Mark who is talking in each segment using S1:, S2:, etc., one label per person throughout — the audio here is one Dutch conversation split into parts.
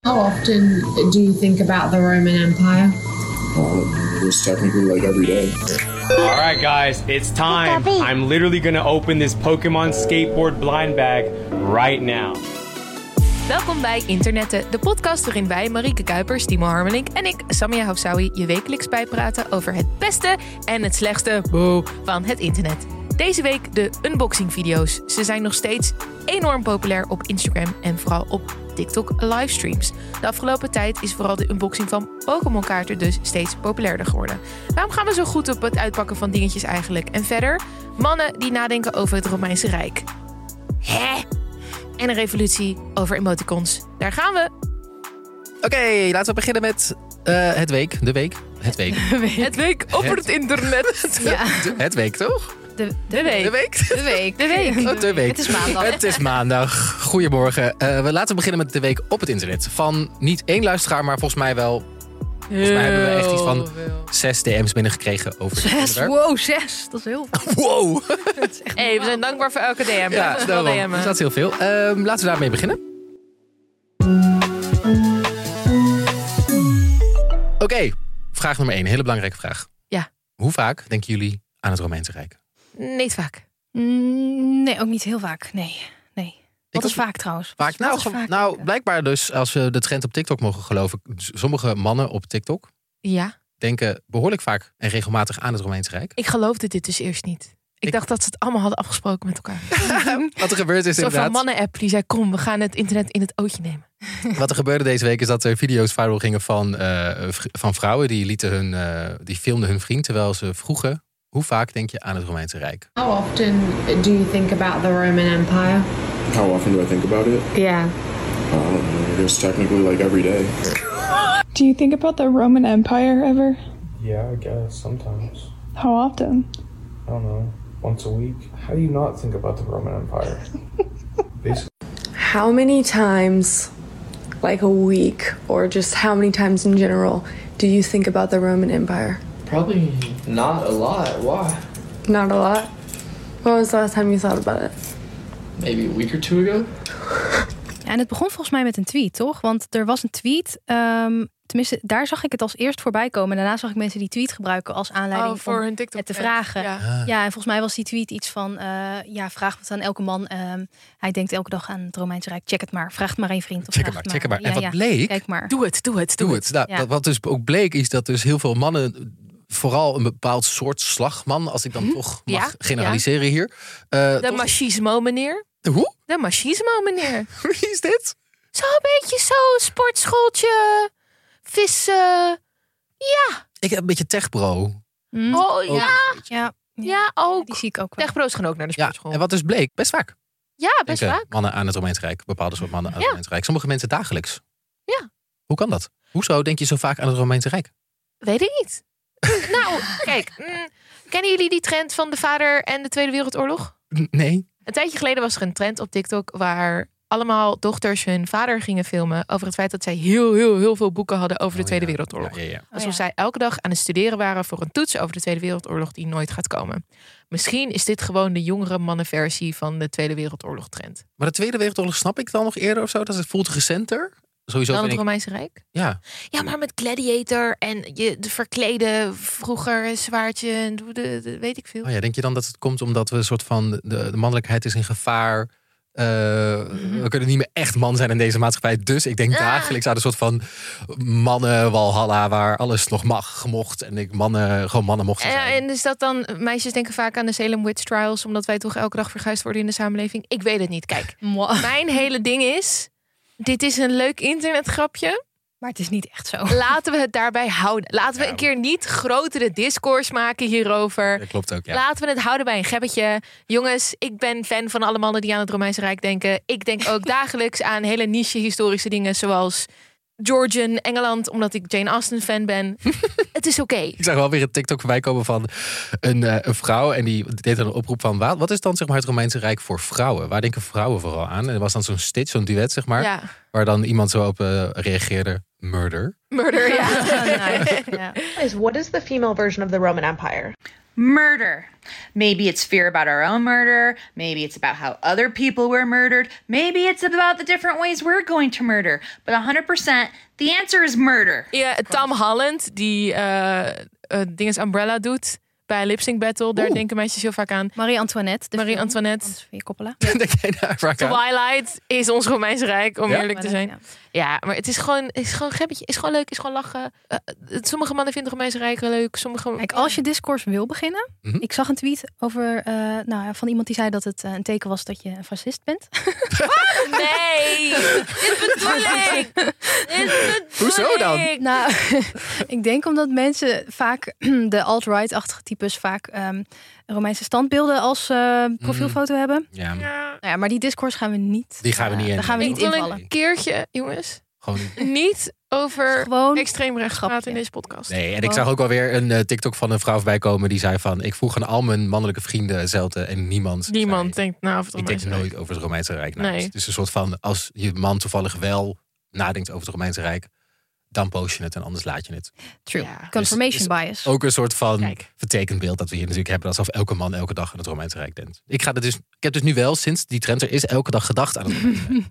S1: How often do you think about the Roman Empire?
S2: Uh, it was technically like every day.
S3: All right, guys, it's time. I'm literally gonna open this Pokemon skateboard blind bag right now.
S4: Welkom bij Internetten, de podcast waarin wij, Marieke Kuipers, Timo Harmelink en ik, Samia Hafsawi, je wekelijks bijpraten over het beste en het slechtste boe, van het internet. Deze week de unboxing video's. Ze zijn nog steeds enorm populair op Instagram en vooral op TikTok livestreams. De afgelopen tijd is vooral de unboxing van Pokémon kaarten dus steeds populairder geworden. Waarom gaan we zo goed op het uitpakken van dingetjes eigenlijk? En verder, mannen die nadenken over het Romeinse Rijk. Hè? En een revolutie over emoticons. Daar gaan we.
S5: Oké, laten we beginnen met eh, het week. De week. Het week.
S4: Het week over het internet.
S5: De- het week, toch?
S6: De,
S4: De week.
S5: De week.
S6: de week.
S4: De week.
S5: Oh, de week.
S6: Het is maandag.
S5: Het is maandag. Goedemorgen. Eh, we laten we beginnen met de week op het internet. Van niet één luisteraar, maar volgens mij wel
S4: Volgens
S5: mij hebben we echt iets van- zes DM's binnengekregen over dit
S6: Zes,
S5: onderwerp.
S6: wow, zes. Dat is heel veel.
S5: Wow.
S6: Dat is echt
S4: hey, we zijn dankbaar voor elke DM. Ja, wel
S5: daarom.
S4: DM'en.
S5: Dus dat is heel veel. Ehm, laten we daarmee beginnen. Oké, vraag nummer één. Hele belangrijke vraag.
S4: Ja.
S5: Hoe vaak denken jullie aan het Romeinse Rijk?
S4: Niet vaak.
S6: Mm, Nee, ook niet heel vaak. Nee, nee. Wat
S5: was-
S6: is vaak trouwens? Wat
S5: Vaak,
S6: is- wat
S5: nou,
S6: is
S5: ge-
S6: vaak?
S5: nou, blijkbaar dus, als we de trend op TikTok mogen geloven, s- sommige mannen op TikTok
S4: Ja.
S5: denken behoorlijk vaak en regelmatig aan het Romeinse Rijk.
S4: Ik geloofde dit dus eerst niet. Ik,
S5: Ik-
S4: dacht dat ze het allemaal hadden afgesproken met elkaar.
S5: Wat er gebeurd is
S4: Een soort van
S5: inderdaad,
S4: mannen-app die zei: Kom, we gaan het internet in het ootje nemen.
S5: wat er gebeurde deze week is dat er video's viral gingen van, eh, vr- van vrouwen die lieten hun, eh, die filmden hun vriend terwijl ze vroegen, hoe vaak denk je aan het Romeinse Rijk?
S1: How often do you think about the Roman Empire?
S2: How often do I think about it?
S1: Yeah.
S2: Uh, it was technically like every day.
S7: Do you think about the Roman Empire ever?
S8: Yeah, I guess sometimes.
S7: How often?
S8: I don't know, once a week. How do you not think about the Roman Empire? Basically,
S9: How many times, like a week, or just how many times in general, do you think about the Roman Empire?
S10: Probably not a lot. Why?
S9: Not a lot. When was the last time you thought about it?
S10: Maybe a week or two ago.
S6: Ja, en het begon volgens mij met een tweet, toch? Want er was een tweet. ehm, tenminste, daar zag ik het als eerst voorbij komen. En daarna zag ik mensen die tweet gebruiken als aanleiding om
S4: Oh, hun TikTok.
S6: het te vragen.
S4: Ja.
S5: Ah.
S6: Ja, en volgens mij was die tweet iets van... eh, ja, vraag het aan elke man. Ehm, hij denkt elke dag aan het Romeinse Rijk. Check het maar. Vraag het maar één vriend. Of
S5: Check het
S6: vraag
S5: maar, check het maar.
S6: Ja,
S5: en wat
S6: ja.
S5: bleek,
S6: Kijk maar.
S4: Doe het, doe het, doe,
S5: doe
S4: het.
S5: het. Nou,
S6: Ja.
S5: dat- Wat dus ook bleek is dat dus heel veel mannen, vooral een bepaald soort slagman, als ik
S6: Mhm.
S5: dan toch mag
S4: Ja,
S5: generaliseren hier. eh,
S4: De
S5: toch-
S4: machismo, meneer.
S5: hoe?
S4: De machismo, meneer.
S5: Wie is dit?
S4: Zo'n beetje zo'n sportschooltje. Vissen.
S5: Ik heb een beetje techbro.
S6: Mm.
S4: Oh ja,
S6: Ja,
S4: ja, ook.
S6: die zie ik ook wel.
S4: Techbro's gaan ook naar de
S5: Ja,
S4: sportschool.
S5: en wat dus bleek, best vaak.
S4: Ja, best
S5: denken
S4: vaak.
S5: Mannen aan het Romeinse Rijk, bepaalde soort mannen aan het
S4: Ja.
S5: Romeinse Rijk. Sommige mensen dagelijks.
S4: Ja.
S5: Hoe kan dat? Hoezo denk je zo vaak aan het Romeinse Rijk?
S4: Weet ik niet. nou, kijk. mm, kennen jullie die trend van de vader en de Tweede Wereldoorlog?
S5: N- Nee.
S4: Een tijdje geleden was er een trend op TikTok waar allemaal dochters hun vader gingen filmen over het feit dat zij heel, heel, heel veel boeken hadden over de
S5: Oh,
S4: Tweede
S5: ja.
S4: Wereldoorlog.
S5: Ja, ja, ja.
S4: Alsof
S6: Oh, ja.
S4: zij elke dag aan het studeren waren voor een toets over de Tweede Wereldoorlog die nooit gaat komen. Misschien is dit gewoon de jongere mannenversie van de Tweede Wereldoorlog trend.
S5: Maar de Tweede Wereldoorlog snap ik dan nog eerder of zo. Dat het voelt recenter. Sowieso
S4: Dan
S5: vind
S4: het
S5: ik,
S4: Romeinse Rijk?
S5: ja.
S4: Ja, maar met Gladiator en je de verkleden vroeger zwaardje en doe de, de- weet ik veel.
S5: Oh ja, denk je dan dat het komt omdat we een soort van de, de mannelijkheid is in gevaar. Eh,
S4: Mhm.
S5: We kunnen niet meer echt man zijn in deze maatschappij. Dus ik denk
S4: Ah.
S5: dagelijks aan een soort van mannen walhalla waar alles nog mag, mocht. En ik mannen, gewoon mannen mochten
S4: Ja,
S5: zijn.
S4: en is dat dan, meisjes denken vaak aan de Salem Witch Trials, omdat wij toch elke dag verguisd worden in de samenleving? Ik weet het niet. Kijk,
S6: Mwah.
S4: mijn hele ding is, dit is een leuk internetgrapje.
S6: Maar het is niet echt zo.
S4: Laten we het daarbij houden. Laten we een keer niet grotere discourse maken hierover.
S5: Dat klopt ook, ja.
S4: Laten we het houden bij een gebbetje. Jongens, ik ben fan van alle mannen die aan het Romeinse Rijk denken. Ik denk ook dagelijks aan hele niche historische dingen zoals Georgian, Engeland, omdat ik Jane Austen fan ben. het is oké.
S5: Ik zag wel weer een TikTok voorbij komen van een, eh, een vrouw. En die deed dan een oproep van, wa- wat is dan zeg maar, het Romeinse Rijk voor vrouwen? Waar denken vrouwen vooral aan? En er was dan zo'n stitch, zo'n duet zeg maar.
S4: Ja.
S5: Waar dan iemand zo op eh, reageerde. Murder.
S4: Murder,
S11: Guys, what is the female version of the Roman Empire?
S12: Murder. Maybe it's fear about our own murder. Maybe it's about how other people were murdered. Maybe it's about the different ways we're going to murder. But 100%, the answer is murder.
S4: Ja, Tom Holland, die eh eh, dinges Umbrella doet bij Lip Sync Battle. Daar denken meisjes heel vaak aan.
S6: Marie Antoinette.
S4: Marie Antoinette.
S6: Coppola.
S4: Twilight is ons Romeinse Rijk, om
S6: Ja.
S4: eerlijk te zijn. Ja, maar het is gewoon, het is gewoon een gebbetje. Het is gewoon leuk, het is gewoon lachen. Eh, het- sommige mannen vinden het Romeinse Rijk wel leuk. Sommige...
S6: Kijk, als je discourse wil beginnen.
S5: Mhm.
S6: Ik zag een tweet over, eh, nou, ja, van iemand die zei dat het eh, een teken was dat je een fascist bent.
S4: Nee! Dit bedoel ik!
S5: Hoezo
S4: dan?
S6: Nou, ik denk omdat mensen vaak de alt-right-achtige types vaak ehm, Romeinse standbeelden als eh, profielfoto hebben.
S5: Ja.
S6: Nou ja, maar die discourse gaan we niet. eh,
S5: Die gaan we niet in.
S6: Daar gaan we niet
S4: Ik wil
S6: invallen.
S4: een keertje, jongens,
S5: Gewoon
S4: niet over extreem extreemrecht praten in deze podcast.
S5: Nee, en ik
S4: Oh.
S5: zag ook alweer een eh, TikTok van een vrouw voorbij komen die zei van... ik vroeg aan al mijn mannelijke vrienden zelden en niemand.
S4: Niemand denkt na over het
S5: Ik denk
S4: Romeinse
S5: nooit over het Romeinse Rijk. na.
S4: Nee.
S5: Dus het is een soort van, als je man toevallig wel nadenkt over het Romeinse Rijk... dan post je het en anders laat je het. Dus
S6: True. Confirmation bias.
S5: Ook een soort van vertekend beeld dat we hier natuurlijk hebben... alsof elke man elke dag aan het Romeinse Rijk denkt. Ik, ga er dus, ik heb dus nu wel, sinds die trend er is, elke dag gedacht aan het Romeinse Rijk.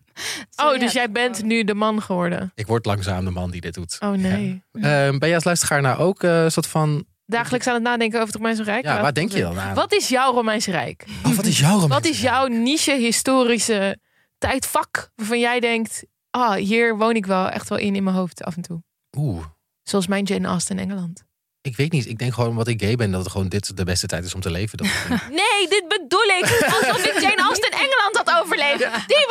S4: Oh, dus jij bent nu de man geworden.
S5: Ik word langzaam de man die dit doet.
S4: Oh nee.
S5: Eh, ben jij als luisteraar nou ook eh, een soort van...
S4: Dagelijks aan het nadenken over het Romeinse Rijk.
S5: Ja, waar denk je dan aan?
S4: Wat is jouw Romeinse Rijk?
S5: Oh, wat is jouw Romeinse
S4: Wat is jouw niche-historische tijdvak waarvan jij denkt... Ah, hier woon ik wel echt wel in in mijn hoofd af en toe.
S5: Oeh.
S4: Zoals mijn Jane Austen in Engeland.
S5: Ik weet niet. Ik denk gewoon omdat ik gay ben dat het gewoon dit de beste tijd is om te leven. Dat
S4: Nee, dit bedoel ik. Alsof ik Jane Austen in Engeland had overleefd. Die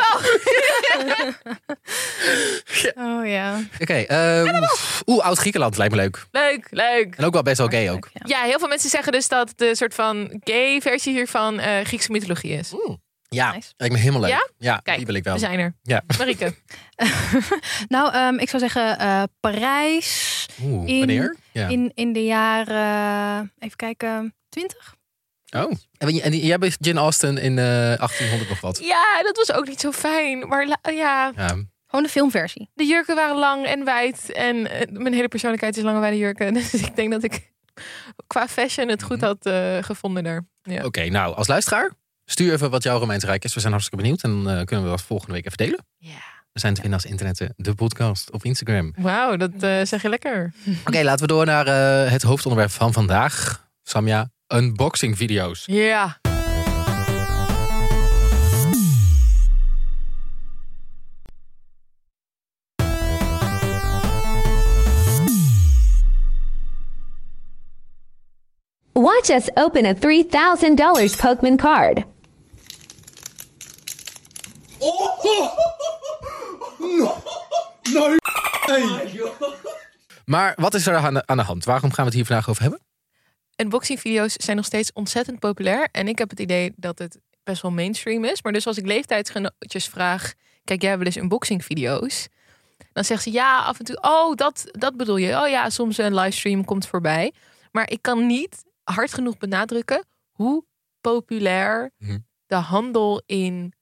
S6: Oh ja.
S5: Oké. ehm, Oeh, Oud-Griekenland lijkt me leuk.
S4: Leuk, leuk.
S5: En ook wel best wel gay ook.
S4: Ja, heel veel mensen zeggen dus dat de soort van gay versie hiervan eh, Griekse mythologie is.
S5: Mm, Ja, lijkt me helemaal leuk.
S4: Ja? Kijk,
S5: die wil ik wel.
S4: we zijn er.
S5: Ja.
S4: Marieke.
S6: Nou, ehm, ik zou zeggen eh, Parijs.
S5: Oeh,
S6: in,
S5: wanneer? Ja.
S6: In, in de jaren, eh, even kijken, 20?
S5: Oh. En, ben je- en jij bent Jane Austen in eh, 1800 nog wat.
S4: Ja, dat was ook niet zo fijn. Maar la- ja,
S5: Ja.
S6: Gewoon de filmversie.
S4: de jurken waren lang en wijd. En eh, mijn hele persoonlijkheid is lang en wijde jurken. Dus ik denk dat ik qua fashion het goed had eh, gevonden daar. Ja.
S5: Oké, nou, als luisteraar, stuur even wat jouw Romeinse Rijk is. We zijn hartstikke benieuwd. En dan eh, kunnen we dat volgende week even delen. We zijn te vinden als internet eh, de podcast op Instagram.
S4: Wauw, dat eh, zeg je lekker.
S5: Oké, laten we door naar eh, het hoofdonderwerp van vandaag. Samja, unboxing video's.
S4: Ja.
S13: Watch us open a $3,000 Pokemon card.
S14: No. No.
S5: Maar wat is er aan de, aan de hand? Waarom gaan we het hier vandaag over hebben?
S4: unboxing-video's zijn nog steeds ontzettend populair. En ik heb het idee dat het best wel mainstream is. Maar dus als ik leeftijdsgenootjes vraag... Kijk, jij hebben dus unboxing-video's. Dan zegt ze ja, af en toe... Oh, dat, dat bedoel je. Oh ja, soms een livestream komt voorbij. Maar ik kan niet hard genoeg benadrukken... hoe populair
S5: Mhm.
S4: de handel in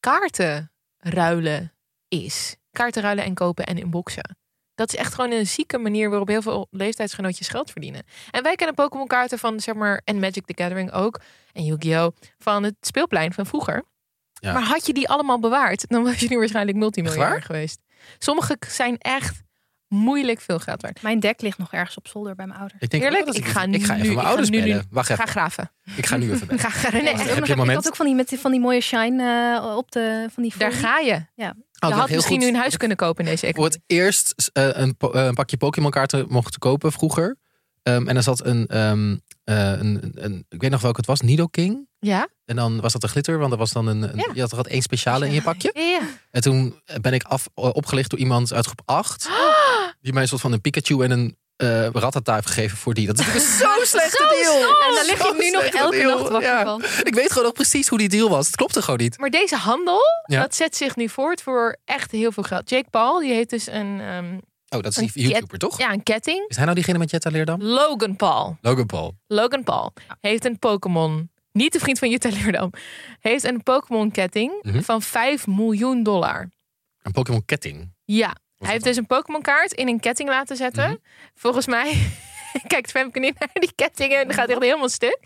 S4: kaarten ruilen is. Kaarten ruilen en kopen en inboxen. Dat is echt gewoon een zieke manier waarop heel veel leeftijdsgenootjes geld verdienen. En wij kennen Pokémon kaarten van, zeg maar, en Magic the Gathering ook. En Yu-Gi-Oh! van het speelplein van vroeger.
S5: Ja.
S4: Maar had je die allemaal bewaard, dan was je nu waarschijnlijk multimiljonair
S6: waar?
S4: geweest. Sommige k- zijn echt moeilijk veel geld waard.
S6: Mijn dek ligt nog ergens op zolder bij mijn ouders.
S5: Ik denk ook
S4: Eerlijk,
S5: dat
S4: ik
S5: ik-
S4: ga
S5: ik
S4: nu,
S5: ga even mijn ouders
S4: nu- nu-
S5: bellen. Wacht even.
S4: Ga graven.
S5: Ik ga nu even bellen.
S4: Ga, ga, nee,
S5: Wacht, heb je een
S6: Ik
S5: moment?
S6: had ook van die, met die- van die mooie shine eh, op de... Van die
S4: Daar
S6: folie.
S4: ga je.
S6: Ja.
S4: je
S5: Oh, dat
S4: had
S5: heel
S4: misschien
S5: goed.
S4: nu een huis kunnen kopen in deze
S5: Voor het eerst eh, een, po- eh, een pakje Pokémon kaarten mocht kopen vroeger. Ehm, en er zat een, ehm, eh, een, een, ik weet nog welke het was, Nido King.
S4: Ja?
S5: En dan was dat een glitter, want er was dan een, een- je had er wat één speciale in je pakje.
S4: Ja, ja.
S5: En toen ben ik af, eh, opgelicht door iemand uit groep 8. Die mij een soort van een Pikachu en een eh ratata heeft gegeven voor die. Dat is natuurlijk
S14: Zo slecht deal.
S4: En daar lig
S14: Zo
S4: je nu nog
S14: slechte
S4: elke
S14: deal.
S4: nacht wakker
S14: Ja.
S4: van.
S5: een- ik weet gewoon nog precies hoe die deal was. Het klopte gewoon niet.
S4: Maar deze handel,
S5: Ja.
S4: dat zet zich nu voort voor echt heel veel geld. Jake Paul, die heeft dus een... ehm,
S5: Oh, dat is
S4: een
S5: die YouTuber,
S4: ket-
S5: toch?
S4: Ja, een ketting.
S5: Is hij nou diegene met Jetta Leerdam?
S4: Logan Paul.
S5: Logan Paul.
S4: Logan Paul heeft een Pokémon... Niet de vriend van Jutta Leerdam. Heeft een Pokémon-ketting
S5: Mhm.
S4: van 5 miljoen dollar.
S5: Een Pokémon ketting.
S4: Ja. Hij heeft dus een Pokémon-kaart in een ketting laten zetten. Volgens mij kijkt Femke niet naar die kettingen. en gaat echt helemaal stuk.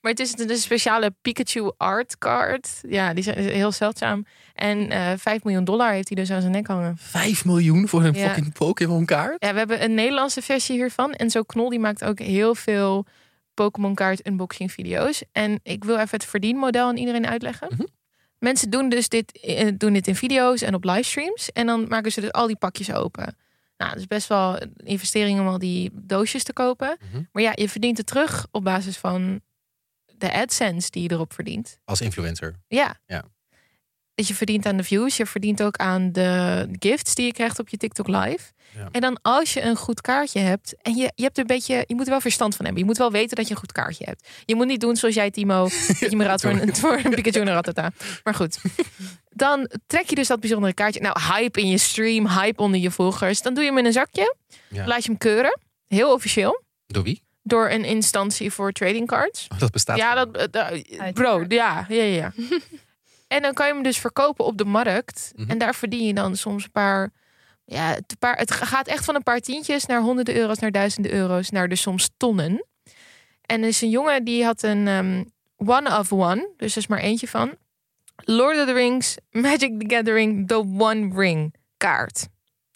S4: maar het is een een speciale Pikachu art kaart. Ja, die zijn heel zeldzaam. En eh 5 miljoen dollar heeft hij dus aan zijn nek hangen.
S5: 5 miljoen voor een
S4: Ja.
S5: fucking Pokémon kaart?
S4: Ja, we hebben een Nederlandse versie hiervan. En zo Knol die maakt ook heel veel Pokémon kaart unboxing video's. En ik wil even het verdienmodel aan iedereen uitleggen. Mensen doen dus dit, eh, doen dit in video's en op livestreams. En dan maken ze dus al die pakjes open. Nou, dat is best wel een investering om al die doosjes te kopen. Maar ja, je verdient het terug op basis van de AdSense die je erop verdient.
S5: Als influencer.
S4: Ja.
S5: Ja.
S4: Dus je verdient aan de views, je verdient ook aan de gifts die je krijgt op je TikTok live.
S5: Ja.
S4: En dan als je een goed kaartje hebt, en je, je hebt er een beetje, je moet er wel verstand van hebben. Je moet wel weten dat je een goed kaartje hebt. Je moet niet doen zoals jij, Timo, dat je me raadt voor een, voor een Pikachu en een Rattata. Maar goed, dan trek je dus dat bijzondere kaartje. Nou, hype in je stream, hype onder je volgers. Dan doe je hem in een zakje,
S5: Ja.
S4: laat je hem keuren, heel officieel,
S5: Door wie? Oh,
S4: door een instantie voor trading cards.
S5: Dat bestaat.
S4: Ja, dat, eh, eh, bro, ja, ja, ja. ja. en dan kan je hem dus verkopen op de markt.
S6: Mhm.
S4: En daar verdien je dan soms een paar, ja, het, paar, het gaat echt van een paar tientjes naar honderden euro's, naar duizenden euro's, naar dus soms tonnen. En er is een jongen die had een ehm, one of one, dus er is maar eentje van. Lord of the Rings, Magic the Gathering, The One Ring kaart.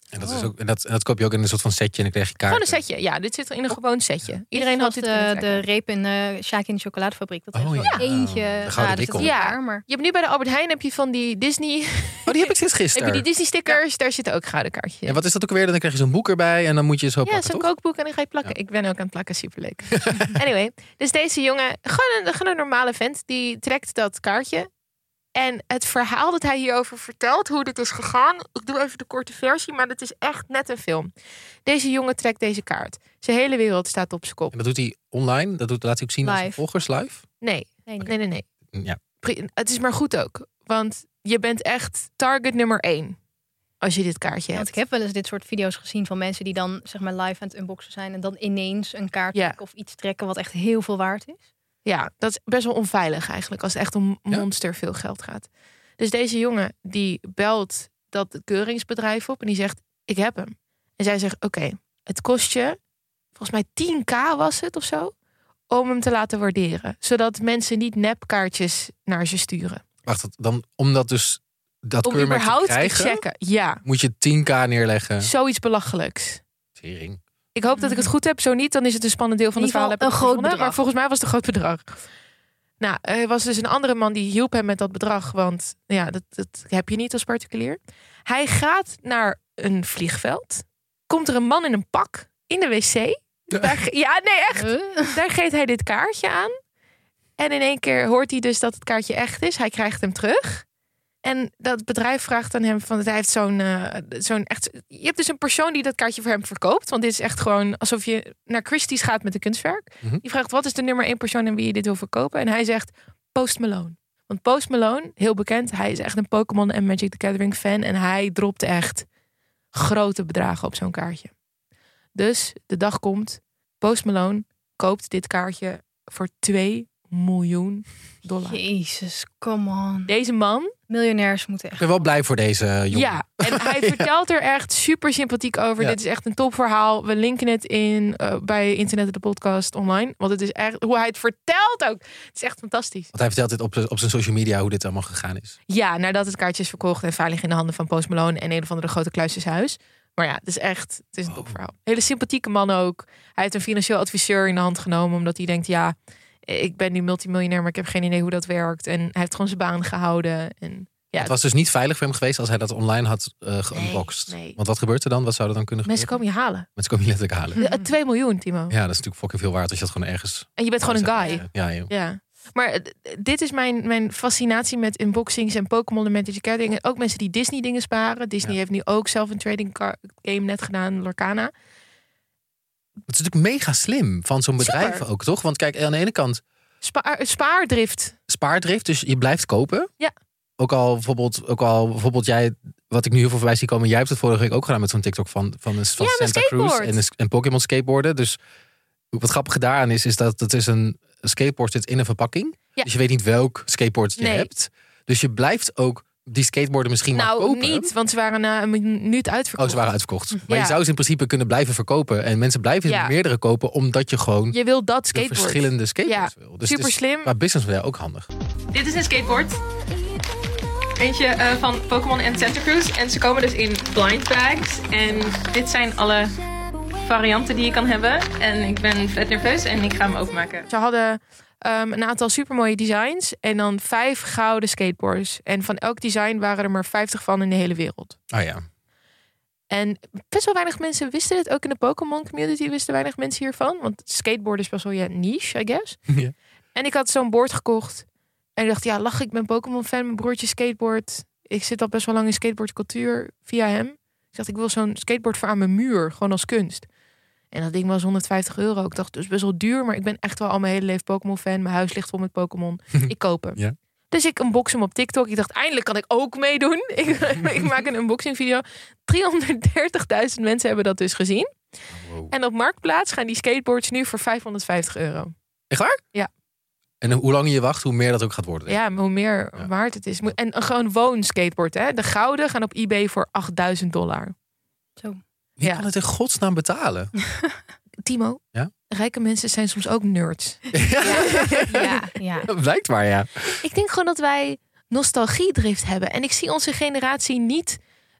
S4: Oh,
S5: En dat, is ook, en dat, en dat koop je ook in een soort van setje en dan krijg je kaart.
S4: Gewoon een setje. Ja, dit zit in
S6: Oh.
S4: een gewoon setje. Iedereen had dit kunnen
S6: de,
S4: trekken.
S6: de reep in eh Sjaak in de chocoladefabriek. Dat
S5: Oh,
S6: is
S4: ja.
S6: eentje. nou, dat is het
S4: Ja,
S6: waar, maar
S4: je hebt nu bij de Albert Heijn heb je van die Disney.
S5: Oh, die heb ik sinds gisteren.
S4: heb je die Disney stickers? Daar zitten ook gouden kaartjes. in.
S5: En wat is dat ook weer? Dan krijg je zo'n boek erbij en dan moet je zo
S4: Ja,
S5: pakken,
S4: zo'n
S5: toch?
S4: kookboek en dan ga je plakken. Ik ben ook aan het plakken, superleuk. anyway, dus deze jongen, gewoon een, gewoon een normale vent, die trekt dat kaartje. En het verhaal dat hij hierover vertelt, hoe dit is gegaan. Ik doe even de korte versie, maar het is echt net een film. Deze jongen trekt deze kaart. Zijn hele wereld staat op zijn kop.
S5: En dat doet hij online. Dat doet, laat hij ook zien aan zijn
S4: Live.
S5: volgers live.
S4: Nee, nee, nee, nee. nee.
S5: Ja.
S4: Pri- Het is maar goed ook, want je bent echt target nummer één als je dit kaartje hebt.
S6: Want ik heb wel eens dit soort video's gezien van mensen die dan zeg maar live aan het unboxen zijn en dan ineens een kaart
S4: Ja.
S6: trekken of iets trekken wat echt heel veel waard is.
S4: Ja, dat is best wel onveilig eigenlijk als het echt om monster veel geld gaat. Dus deze jongen die belt dat keuringsbedrijf op en die zegt: Ik heb hem. En zij zegt: Oké, het kost je, volgens mij 10k was het of zo, om hem te laten waarderen. Zodat mensen niet nepkaartjes naar ze sturen.
S5: Wacht, dat- dan, omdat dus dat
S4: om
S5: keurmerk te
S4: überhaupt
S5: krijgen,
S4: te checken. Ja,
S5: moet je 10k neerleggen.
S4: zoiets belachelijks.
S5: Tering.
S4: Ik hoop dat ik het goed heb. Zo niet, dan is het een spannend deel van
S6: Mm. In
S4: het
S6: ieder
S4: verhaal.
S6: geval
S4: Heb ik
S6: een
S4: het gevonden,
S6: groot bedrag.
S4: Maar volgens mij was het een groot bedrag. Nou, er was dus een andere man die hielp hem met dat bedrag. Want ja, dat, dat heb je niet als particulier. Hij gaat naar een vliegveld. Komt er een man in een pak in de wc. Daar ge- ja, nee, echt. Daar geeft hij dit kaartje aan. En in één keer hoort hij dus dat het kaartje echt is. Hij krijgt hem terug. En dat bedrijf vraagt aan hem van, hij heeft zo'n, eh, zo'n echt, je hebt dus een persoon die dat kaartje voor hem verkoopt, want dit is echt gewoon alsof je naar Christie's gaat met een kunstwerk. Die vraagt wat is de nummer één persoon aan wie je dit wil verkopen? En hij zegt Post Malone. Want Post Malone, heel bekend, hij is echt een Pokémon en Magic the Gathering fan en hij dropt echt grote bedragen op zo'n kaartje. Dus de dag komt, Post Malone koopt dit kaartje voor 2 miljoen dollar.
S6: Jezus, come on.
S4: Deze man.
S6: Miljonairs moeten
S5: Ik
S6: echt.
S5: ben wel blij voor deze jongen.
S4: Ja, en hij vertelt er echt super sympathiek over.
S5: Ja.
S4: Dit is echt een topverhaal. We linken het in eh, bij Internet de Podcast online. Want het is echt hoe hij het vertelt ook. Het is echt fantastisch.
S5: Want hij vertelt dit op, z'n- op zijn social media hoe dit allemaal gegaan is.
S4: Ja, nadat het kaartje is verkocht en veilig in de handen van Post Malone en een of andere grote kluisjeshuis. Maar ja, het is echt het is
S5: Oh.
S4: een topverhaal. Hele sympathieke man ook. Hij heeft een financieel adviseur in de hand genomen, omdat hij denkt: ja, ik ben nu multimiljonair, maar ik heb geen idee hoe dat werkt. En hij heeft gewoon zijn baan gehouden. En ja,
S5: het was dus niet veilig voor hem geweest als hij dat online had eh geunboxed. Want wat gebeurt er dan? Wat zou er dan kunnen
S4: mensen
S5: gebeuren?
S4: komen je halen.
S5: Mensen komen je letterlijk halen.
S4: Eh, 2 miljoen, Timo.
S5: Ja, dat is natuurlijk fucking veel waard als je dat gewoon ergens...
S4: En je bent gewoon een guy.
S5: Ja, joh.
S4: Ja. Maar eh, d- dit is mijn, mijn fascinatie met unboxings en Pokémon en Magic the Gathering. En ook mensen die Disney dingen sparen. Disney heeft nu ook zelf een trading car- game net gedaan, Lorcana.
S5: Het is natuurlijk mega slim van zo'n bedrijf
S4: Super.
S5: ook, toch? Want kijk, aan de ene kant
S4: Spaar, eh, spaardrift.
S5: spaardrift, dus je blijft kopen.
S4: Ja.
S5: Ook al bijvoorbeeld, ook al bijvoorbeeld jij, wat ik nu heel veel voorbij zie komen, jij hebt het vorige week ook gedaan met zo'n TikTok van, van, een- van
S4: Ja, mijn
S5: Santa Cruz
S4: skateboard.
S5: en, een s- en Pokémon skateboarden. Dus wat grappig daaraan is, is dat het is een, een skateboard zit in een verpakking.
S4: Ja.
S5: Dus je weet niet welk skateboard je
S4: Nee.
S5: hebt. Dus je blijft ook die skateboarden misschien
S4: nou,
S5: maar kopen.
S4: niet, want ze waren na een minuut
S5: Oh,
S4: uitverkocht.
S5: ze waren uitverkocht.
S4: Ja.
S5: Maar je zou ze in principe kunnen blijven verkopen. En mensen blijven
S4: Ja.
S5: meerdere kopen omdat je gewoon
S4: Je wil dat
S5: de
S4: skateboard.
S5: verschillende skateboards
S4: Ja,
S5: wil. Dus
S4: super
S5: het is
S4: slim.
S5: Qua businessmodel ook handig.
S15: Dit is een skateboard. Eentje eh, van Pokémon en Santa Cruz. En ze komen dus in blind bags. En dit zijn alle varianten die je kan hebben. En ik ben vet nerveus en ik ga hem openmaken.
S4: Ze hadden ehm, een aantal supermooie designs en dan vijf gouden skateboards. En van elk design waren er maar 50 van in de hele wereld.
S5: Oh ja.
S4: En best wel weinig mensen wisten dit. Ook in de Pokémon community wisten weinig mensen hiervan. Want skateboard is best wel je niche, I guess.
S5: Ja.
S4: En ik had zo'n board gekocht. En ik dacht, ja, lach, ik ben Pokémon-fan. Mijn broertje skateboard. Ik zit al best wel lang in skateboardcultuur via hem. Ik dacht, ik wil zo'n skateboard voor aan mijn muur. Gewoon als kunst. En dat ding was 150 euro. Ik dacht, dus best wel duur. Maar ik ben echt wel al mijn hele leven Pokémon-fan. Mijn huis ligt vol met Pokémon. ik koop hem.
S5: Ja.
S4: Dus ik unbox hem op TikTok. Ik dacht, eindelijk kan ik ook meedoen. Ik, ik maak een unboxing video. 330.000 mensen hebben dat dus gezien.
S5: Ah,
S4: En op Marktplaats gaan die skateboards nu voor 550 euro.
S5: Echt waar?
S4: Ja.
S5: En hoe langer je wacht, hoe meer dat ook gaat worden.
S4: Ja, maar hoe meer waard het is. Moet- En een gewoon woonskateboard, hè? De gouden gaan op eBay voor 8000 dollar.
S6: Zo.
S5: Wie kan het in godsnaam betalen?
S4: Timo,
S5: Ja?
S4: rijke mensen zijn soms ook nerds. ja, ja.
S5: Blijkbaar, ja.
S4: Ik denk gewoon dat wij nostalgiedrift hebben. En ik zie onze generatie niet,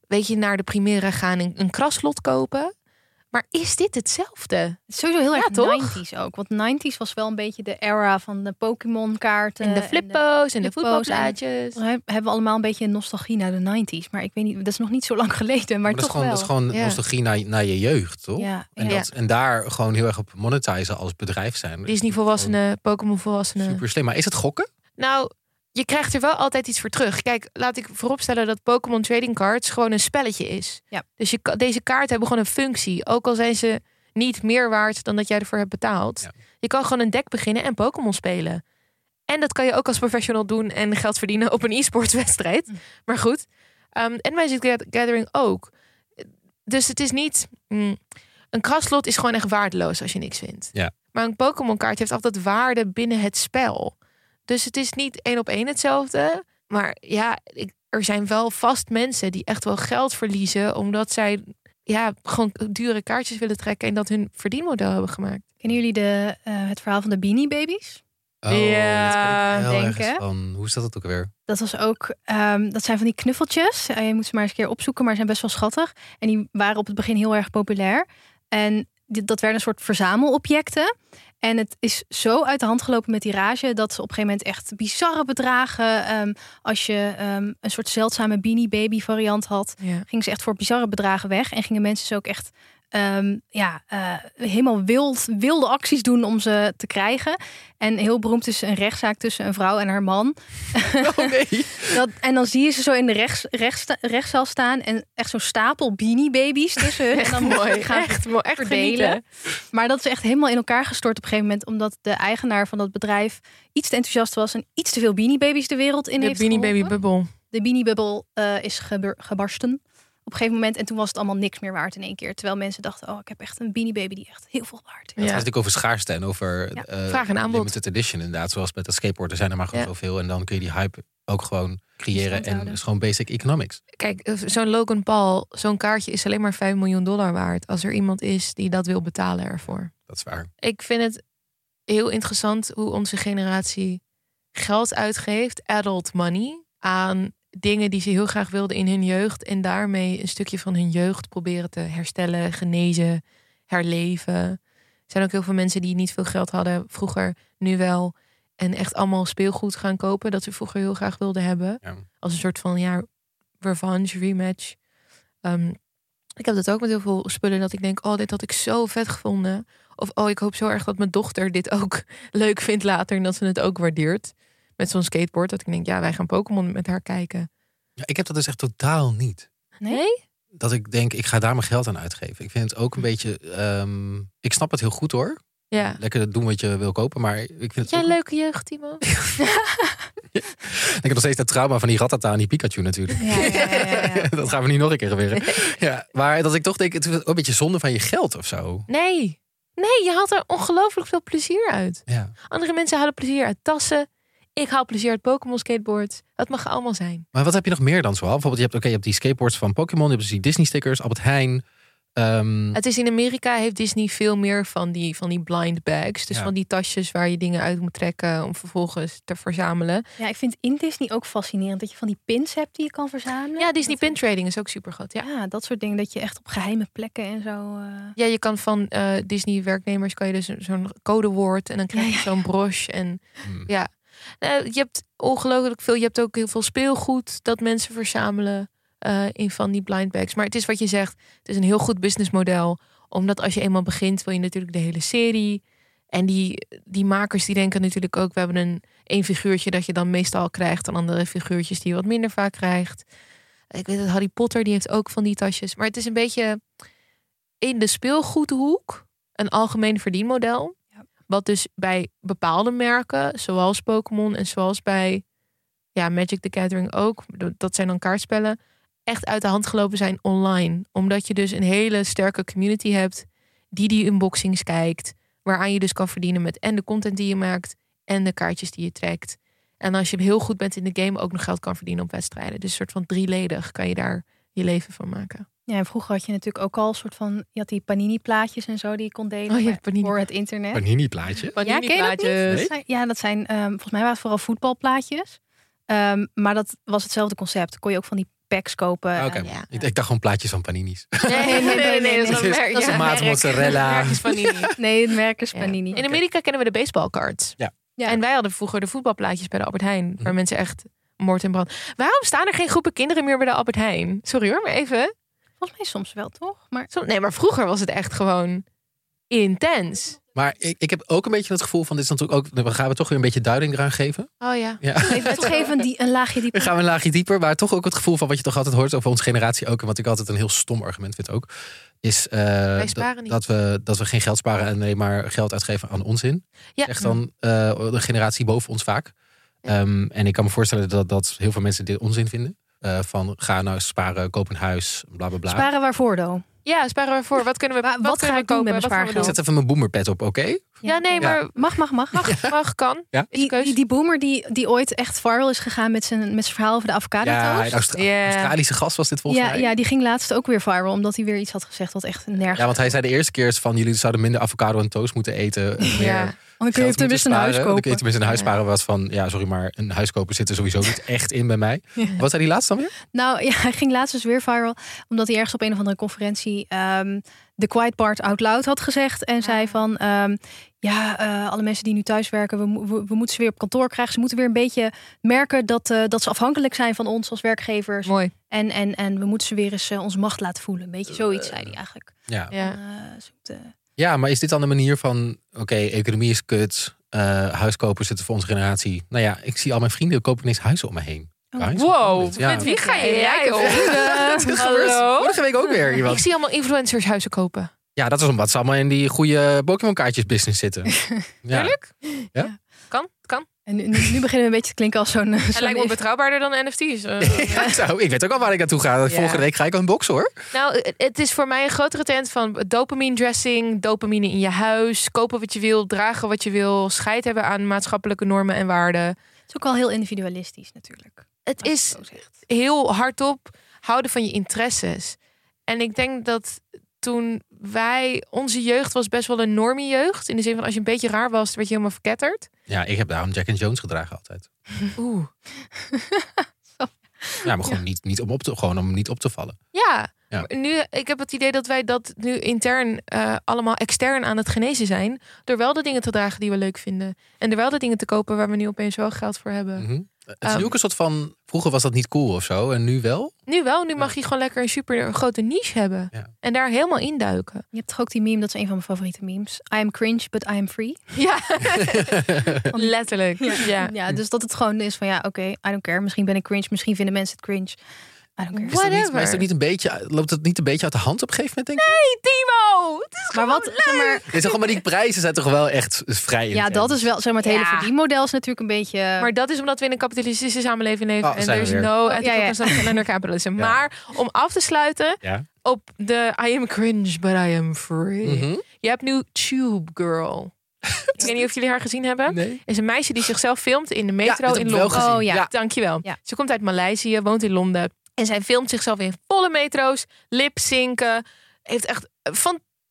S4: weet je, naar de Primera gaan en een kraslot kopen. Maar is dit hetzelfde?
S6: Sowieso heel
S4: Ja,
S6: erg
S4: toch?
S6: 90s ook. Want 90s was wel een beetje de era van de Pokémon kaarten.
S4: En eh, de flippo's en Oh, de voetbalplaatjes.
S6: voetbalplaatjes. We heb- hebben allemaal een beetje nostalgie naar de 90s. Maar ik weet niet, dat is nog niet zo lang geleden.
S5: Maar
S6: Maar,
S5: dat, is
S6: toch
S5: gewoon,
S6: wel.
S5: dat is gewoon nostalgie naar, naar je jeugd, toch?
S6: Ja,
S5: En,
S6: ja.
S5: dat, en daar gewoon heel erg op monetizen als bedrijf zijn.
S4: Disney
S5: Oh.
S4: volwassenen, Pokémon volwassenen.
S5: Super slim. Maar is het gokken?
S4: Nou, je krijgt er wel altijd iets voor terug. Kijk, laat ik vooropstellen dat Pokémon Trading Cards gewoon een spelletje is.
S6: Ja.
S4: Dus je, ka- deze kaarten hebben gewoon een functie. Ook al zijn ze niet meer waard dan dat jij ervoor hebt betaald. Je kan gewoon een deck beginnen en Pokémon spelen. En dat kan je ook als professional doen en geld verdienen op een e-sports wedstrijd. Maar goed. Ehm, en Magic Gath- Gathering ook. Dus het is niet... mm, een kraslot is gewoon echt waardeloos als je niks vindt.
S5: Ja.
S4: Maar een Pokémon kaart heeft altijd waarde binnen het spel. Dus het is niet één op één hetzelfde. Maar ja, ik- er zijn wel vast mensen die echt wel geld verliezen. Omdat zij ja, gewoon dure kaartjes willen trekken. En dat hun verdienmodel hebben gemaakt.
S6: Kennen jullie de, eh, het verhaal van de Beanie Babies?
S5: dat Oh, ken ik heel
S6: denk,
S5: ergens
S6: hè?
S5: van. Hoe is dat ook alweer?
S6: Dat was ook, ehm, dat zijn van die knuffeltjes. Eh, je moet ze maar eens een keer opzoeken, maar ze zijn best wel schattig. En die waren op het begin heel erg populair. En dit- dat werden een soort verzamelobjecten. En het is zo uit de hand gelopen met die rage dat ze op een gegeven moment echt bizarre bedragen. ehm, als je ehm, een soort zeldzame Beanie Baby variant had,
S4: Ja.
S6: gingen ze echt voor bizarre bedragen weg. En gingen mensen ze ook echt ehm, ja, eh, helemaal wild, wilde acties doen om ze te krijgen. En heel beroemd is een rechtszaak tussen een vrouw en haar man.
S4: Oh,
S6: Dat, en dan zie je ze zo in de rechts, rechts, rechtszaal staan en echt zo'n stapel beanie babies tussen hun.
S4: Echt
S6: en dan
S4: mooi,
S6: gaan
S4: echt mooi, echt genieten.
S6: Maar dat is echt helemaal in elkaar gestort op een gegeven moment. Omdat de eigenaar van dat bedrijf iets te enthousiast was en iets te veel beanie babies de wereld in
S4: de
S6: heeft
S4: Beanie Baby
S6: geholpen.
S4: Bubble.
S6: De beanie bubble eh, is gebeur- gebarsten op een gegeven moment. En toen was het allemaal niks meer waard in één keer. Terwijl mensen dachten, oh ik heb echt een beanie baby die echt heel veel waard
S5: Het
S6: is.
S5: gaat natuurlijk over schaarste en over
S6: Ja.
S5: eh,
S6: Vraag en aanbod.
S5: limited edition inderdaad. Zoals met dat skateboard, er zijn er maar gewoon
S4: Ja.
S5: zoveel. En dan kun je die hype ook gewoon creëren.
S4: Stand
S5: En
S4: houden.
S5: is gewoon basic economics.
S4: Kijk, eh, zo'n Logan Paul, zo'n kaartje is alleen maar 5 miljoen dollar waard. Als er iemand is die dat wil betalen ervoor.
S5: Dat is waar.
S4: Ik vind het heel interessant hoe onze generatie geld uitgeeft, adult money, aan dingen die ze heel graag wilden in hun jeugd. En daarmee een stukje van hun jeugd proberen te herstellen, genezen, herleven. Er zijn ook heel veel mensen die niet veel geld hadden vroeger, nu wel. En echt allemaal speelgoed gaan kopen dat ze vroeger heel graag wilden hebben. Als een soort van ja, revenge, rematch. Ehm, ik heb dat ook met heel veel spullen dat ik denk, oh, dit had ik zo vet gevonden. Of oh, ik hoop zo erg dat mijn dochter dit ook leuk vindt later en dat ze het ook waardeert. Met zo'n skateboard dat ik denk, ja, wij gaan Pokémon met haar kijken.
S5: Ja, ik heb dat dus echt totaal niet.
S4: Nee?
S5: dat ik denk, ik ga daar mijn geld aan uitgeven. Ik vind het ook een beetje. ehm, ik snap het heel goed hoor.
S4: Ja.
S5: Lekker doen wat je wil kopen. Maar ik vind het.
S4: Jij
S5: ook-
S4: een leuke jeugd, Timo.
S5: ik heb nog steeds dat trauma van die ratata en die Pikachu natuurlijk. dat gaan we niet nog een keer gebeuren. ja, maar dat ik toch denk, het is ook een beetje zonde van je geld of zo.
S4: Nee. Nee, je haalt er ongelooflijk veel plezier uit.
S5: Ja.
S4: Andere mensen halen plezier uit tassen. Ik haal plezier uit Pokémon skateboards. Dat mag allemaal zijn.
S5: Maar wat heb je nog meer dan zoal? Bijvoorbeeld, je hebt, oké, je hebt die skateboards van Pokémon, je hebt dus die Disney stickers, Albert Heijn. ehm,
S4: Het is in Amerika heeft Disney veel meer van die, van die blind bags. Dus
S5: Ja.
S4: van die tasjes waar je dingen uit moet trekken om vervolgens te verzamelen.
S6: Ja, ik vind in Disney ook fascinerend dat je van die pins hebt die je kan verzamelen.
S4: Ja, Disney pin trading is ook super goed. Ja.
S6: Ja, dat soort dingen. Dat je echt op geheime plekken en zo. eh,
S4: Ja, je kan van eh, Disney werknemers kan je dus een- zo'n codewoord en dan krijg je zo'n broche en
S5: Hmm.
S4: ja. Nou, je hebt ongelooflijk veel. Je hebt ook heel veel speelgoed dat mensen verzamelen eh, in van die blind bags. Maar het is wat je zegt. Het is een heel goed businessmodel, omdat als je eenmaal begint, wil je natuurlijk de hele serie. En die, die makers die denken natuurlijk ook, we hebben een één figuurtje dat je dan meestal krijgt en andere figuurtjes die je wat minder vaak krijgt. Ik weet dat Harry Potter die heeft ook van die tasjes. Maar het is een beetje in de speelgoedhoek een algemeen verdienmodel. Wat dus bij bepaalde merken, zoals Pokémon en zoals bij ja, Magic the Gathering ook, dat zijn dan kaartspellen, echt uit de hand gelopen zijn online. Omdat je dus een hele sterke community hebt die die unboxings kijkt, waaraan je dus kan verdienen met en de content die je maakt en de kaartjes die je trekt. En als je heel goed bent in de game, ook nog geld kan verdienen op wedstrijden. Dus een soort van drieledig kan je daar je leven van maken.
S6: Ja, en vroeger had je natuurlijk ook al een soort van. Je had die panini-plaatjes en zo die je kon delen
S4: Oh ja,
S6: maar voor het internet.
S5: Panini-plaatje.
S6: ja, ken je dat niet? Dat zijn- Ja, dat zijn. ehm, volgens mij waren het vooral voetbalplaatjes. Ehm, maar dat was hetzelfde concept. Kon je ook van die packs kopen.
S5: Ah, Oké,
S6: en-
S5: ik, ik dacht gewoon plaatjes van Panini's.
S4: Nee, nee, nee, nee, dat is een
S5: Dat is-
S4: merk.
S5: dat is
S4: Ja,
S5: een maat
S4: merk.
S5: mozzarella.
S4: Het merk is Panini.
S6: Nee, het merk is Panini.
S4: In Amerika kennen we de baseballcards.
S5: Ja. Mhm.
S4: En wij hadden vroeger de voetbalplaatjes bij de Albert Heijn. Waar mensen echt moord en brand... Waarom staan er geen groepen kinderen meer bij de Albert Heijn? Sorry hoor, maar even.
S6: Volgens mij soms wel, toch? Maar...
S4: nee, maar vroeger was het echt gewoon intens.
S5: Maar ik, ik heb ook een beetje het gevoel van, dit is natuurlijk ook, we gaan we toch weer een beetje duiding eraan geven.
S4: Oh ja.
S5: Ja.
S6: Het geven die, een laagje dieper.
S5: We gaan een laagje dieper, maar toch ook het gevoel van wat je toch altijd hoort over onze generatie ook. En wat ik altijd een heel stom argument vind ook. Is eh,
S4: sparen
S5: dat,
S4: niet.
S5: dat we, dat we geen geld sparen en alleen maar geld uitgeven aan onzin.
S4: Ja.
S5: Echt dan eh, de generatie boven ons vaak. Ehm, en ik kan me voorstellen dat, dat heel veel mensen dit onzin vinden. Eh, van ga nou sparen, koop een huis, bla bla bla.
S6: Sparen waarvoor dan?
S4: Ja, sparen we voor. Wat kunnen we, wat
S6: wat
S4: kunnen
S6: ga
S4: we
S6: ik doen
S4: kopen?
S6: met
S4: Wat
S6: mijn
S4: gaan we
S5: Ik
S4: doen?
S5: zet even mijn boomerpet op, oké?
S4: Ja, nee, maar
S6: Mag, mag, mag.
S4: mag, mag kan.
S5: Ja.
S6: Die, die, die boomer die, die ooit echt viral is gegaan met zijn, met zijn verhaal over de avocado
S5: Ja,
S6: toast.
S5: een Austra- Australische gast was dit volgens
S6: ja,
S5: mij.
S6: ja, die ging laatst ook weer viral. Omdat hij weer iets had gezegd wat echt nergens...
S5: Ja, want hij zei de eerste keer is van jullie zouden minder avocado en toast moeten eten. En meer
S6: Ja. Want dan kun
S5: geld
S6: je tenminste
S5: moeten
S6: een huis
S5: sparen. Dan kun
S6: kopen.
S5: je tenminste een huis
S6: Ja.
S5: sparen was van ja, sorry, maar een huis kopen zit er sowieso niet echt in bij mij.
S6: Ja.
S5: Wat zei die laatst dan weer?
S6: Nou ja, hij ging laatst dus weer viral. Omdat hij ergens op een of andere conferentie ehm The Quiet Part Out Loud had gezegd. En
S4: Ah.
S6: zei van, ehm, ja, eh, alle mensen die nu thuis werken, we, mo- we, we moeten ze weer op kantoor krijgen. Ze moeten weer een beetje merken dat, eh, dat ze afhankelijk zijn van ons als werkgevers.
S4: Mooi.
S6: En, en, en we moeten ze weer eens eh, onze macht laten voelen. Een beetje zoiets, zei hij eigenlijk.
S5: Ja.
S4: Ja.
S6: Eh, zoekt, eh,
S5: ja, maar is dit dan de manier van oké, economie is kut, eh huiskopen zitten voor onze generatie. Nou ja, ik zie al mijn vrienden kopen niks huizen om me heen. Guys, wat kan
S4: Oh, Wow,
S5: dit? Ja.
S4: met wie ga je
S6: Ja,
S4: rijden?
S6: ik-
S5: Dat is gebeurd. Vorige week ook weer iemand.
S4: Ik zie allemaal influencers huizen kopen.
S5: Ja, dat is omdat ze allemaal in die goede Pokémon kaartjes business zitten. ja.
S4: Tuurlijk.
S5: Ja?
S4: Kan, kan.
S6: En nu, nu nu beginnen we een beetje te klinken als zo'n...
S4: Hij lijkt me betrouwbaarder dan NFT's. eh.
S5: Ja, zo, ik weet ook al waar ik naartoe ga. Volgende week ga ik een box hoor.
S4: Nou, het- het is voor mij een grotere tent van dopamine dressing, dopamine in je huis, kopen wat je wil, dragen wat je wil, scheid hebben aan maatschappelijke normen en waarden.
S6: Het is ook al heel individualistisch natuurlijk.
S4: Het is heel hardop houden van je interesses. En ik denk dat toen wij, onze jeugd was best wel een normie jeugd. In de zin van als je een beetje raar was, werd je helemaal verketterd.
S5: Ja, ik heb daarom Jack and Jones gedragen altijd.
S4: Oeh.
S5: Ja, maar gewoon, niet, niet om op te, gewoon om niet op te vallen.
S4: Ja.
S5: Ja.
S4: maar Nu, ik heb het idee dat wij dat nu intern eh, allemaal extern aan het genezen zijn. Door wel de dingen te dragen die we leuk vinden. En door wel de dingen te kopen waar we nu opeens wel geld voor hebben.
S5: Mhm. Het is
S4: Ehm.
S5: nu ook een soort van, vroeger was dat niet cool of zo en nu wel.
S4: Nu wel, nu mag je gewoon lekker een super grote niche hebben. En daar helemaal induiken.
S6: Je hebt toch ook die meme, dat is een van mijn favoriete memes. I am cringe, but I am free.
S4: Ja, letterlijk. Ja.
S6: ja. dus dat het gewoon is van ja, oké, I don't care. Misschien ben ik cringe, misschien vinden mensen het cringe. I don't care.
S5: Is dat niet, maar is dat niet een beetje, loopt dat niet een beetje uit de hand op een gegeven moment? Denk ik?
S4: Nee, Timo! Het is
S6: maar wat, zeg maar,
S5: Dit is toch oh, maar die prijzen zijn toch wel echt vrij.
S6: ja, dat is wel, zeg maar, het hele
S4: Ja.
S6: verdienmodel is natuurlijk een beetje...
S4: Maar dat is omdat we in een kapitalistische samenleving leven.
S6: Eh, Oh,
S4: en
S6: zijn
S4: er
S6: we
S4: is
S6: weer.
S4: no
S6: Oh, ja,
S4: ethical
S6: ja.
S4: consumption under capitalism. Maar om af te sluiten
S5: Ja.
S4: op de I am cringe, but I am free.
S5: Mhm.
S4: Je hebt nu Tube Girl. Ik weet niet of jullie haar gezien hebben. Is een meisje die zichzelf filmt in de metro
S12: dit heb
S4: in
S12: ik wel
S4: Londen.
S12: gezien. Oh, ja.
S4: Dankjewel. Ze komt uit Maleisië, woont in Londen. En zij filmt zichzelf in volle metro's, lipzinken. Heeft echt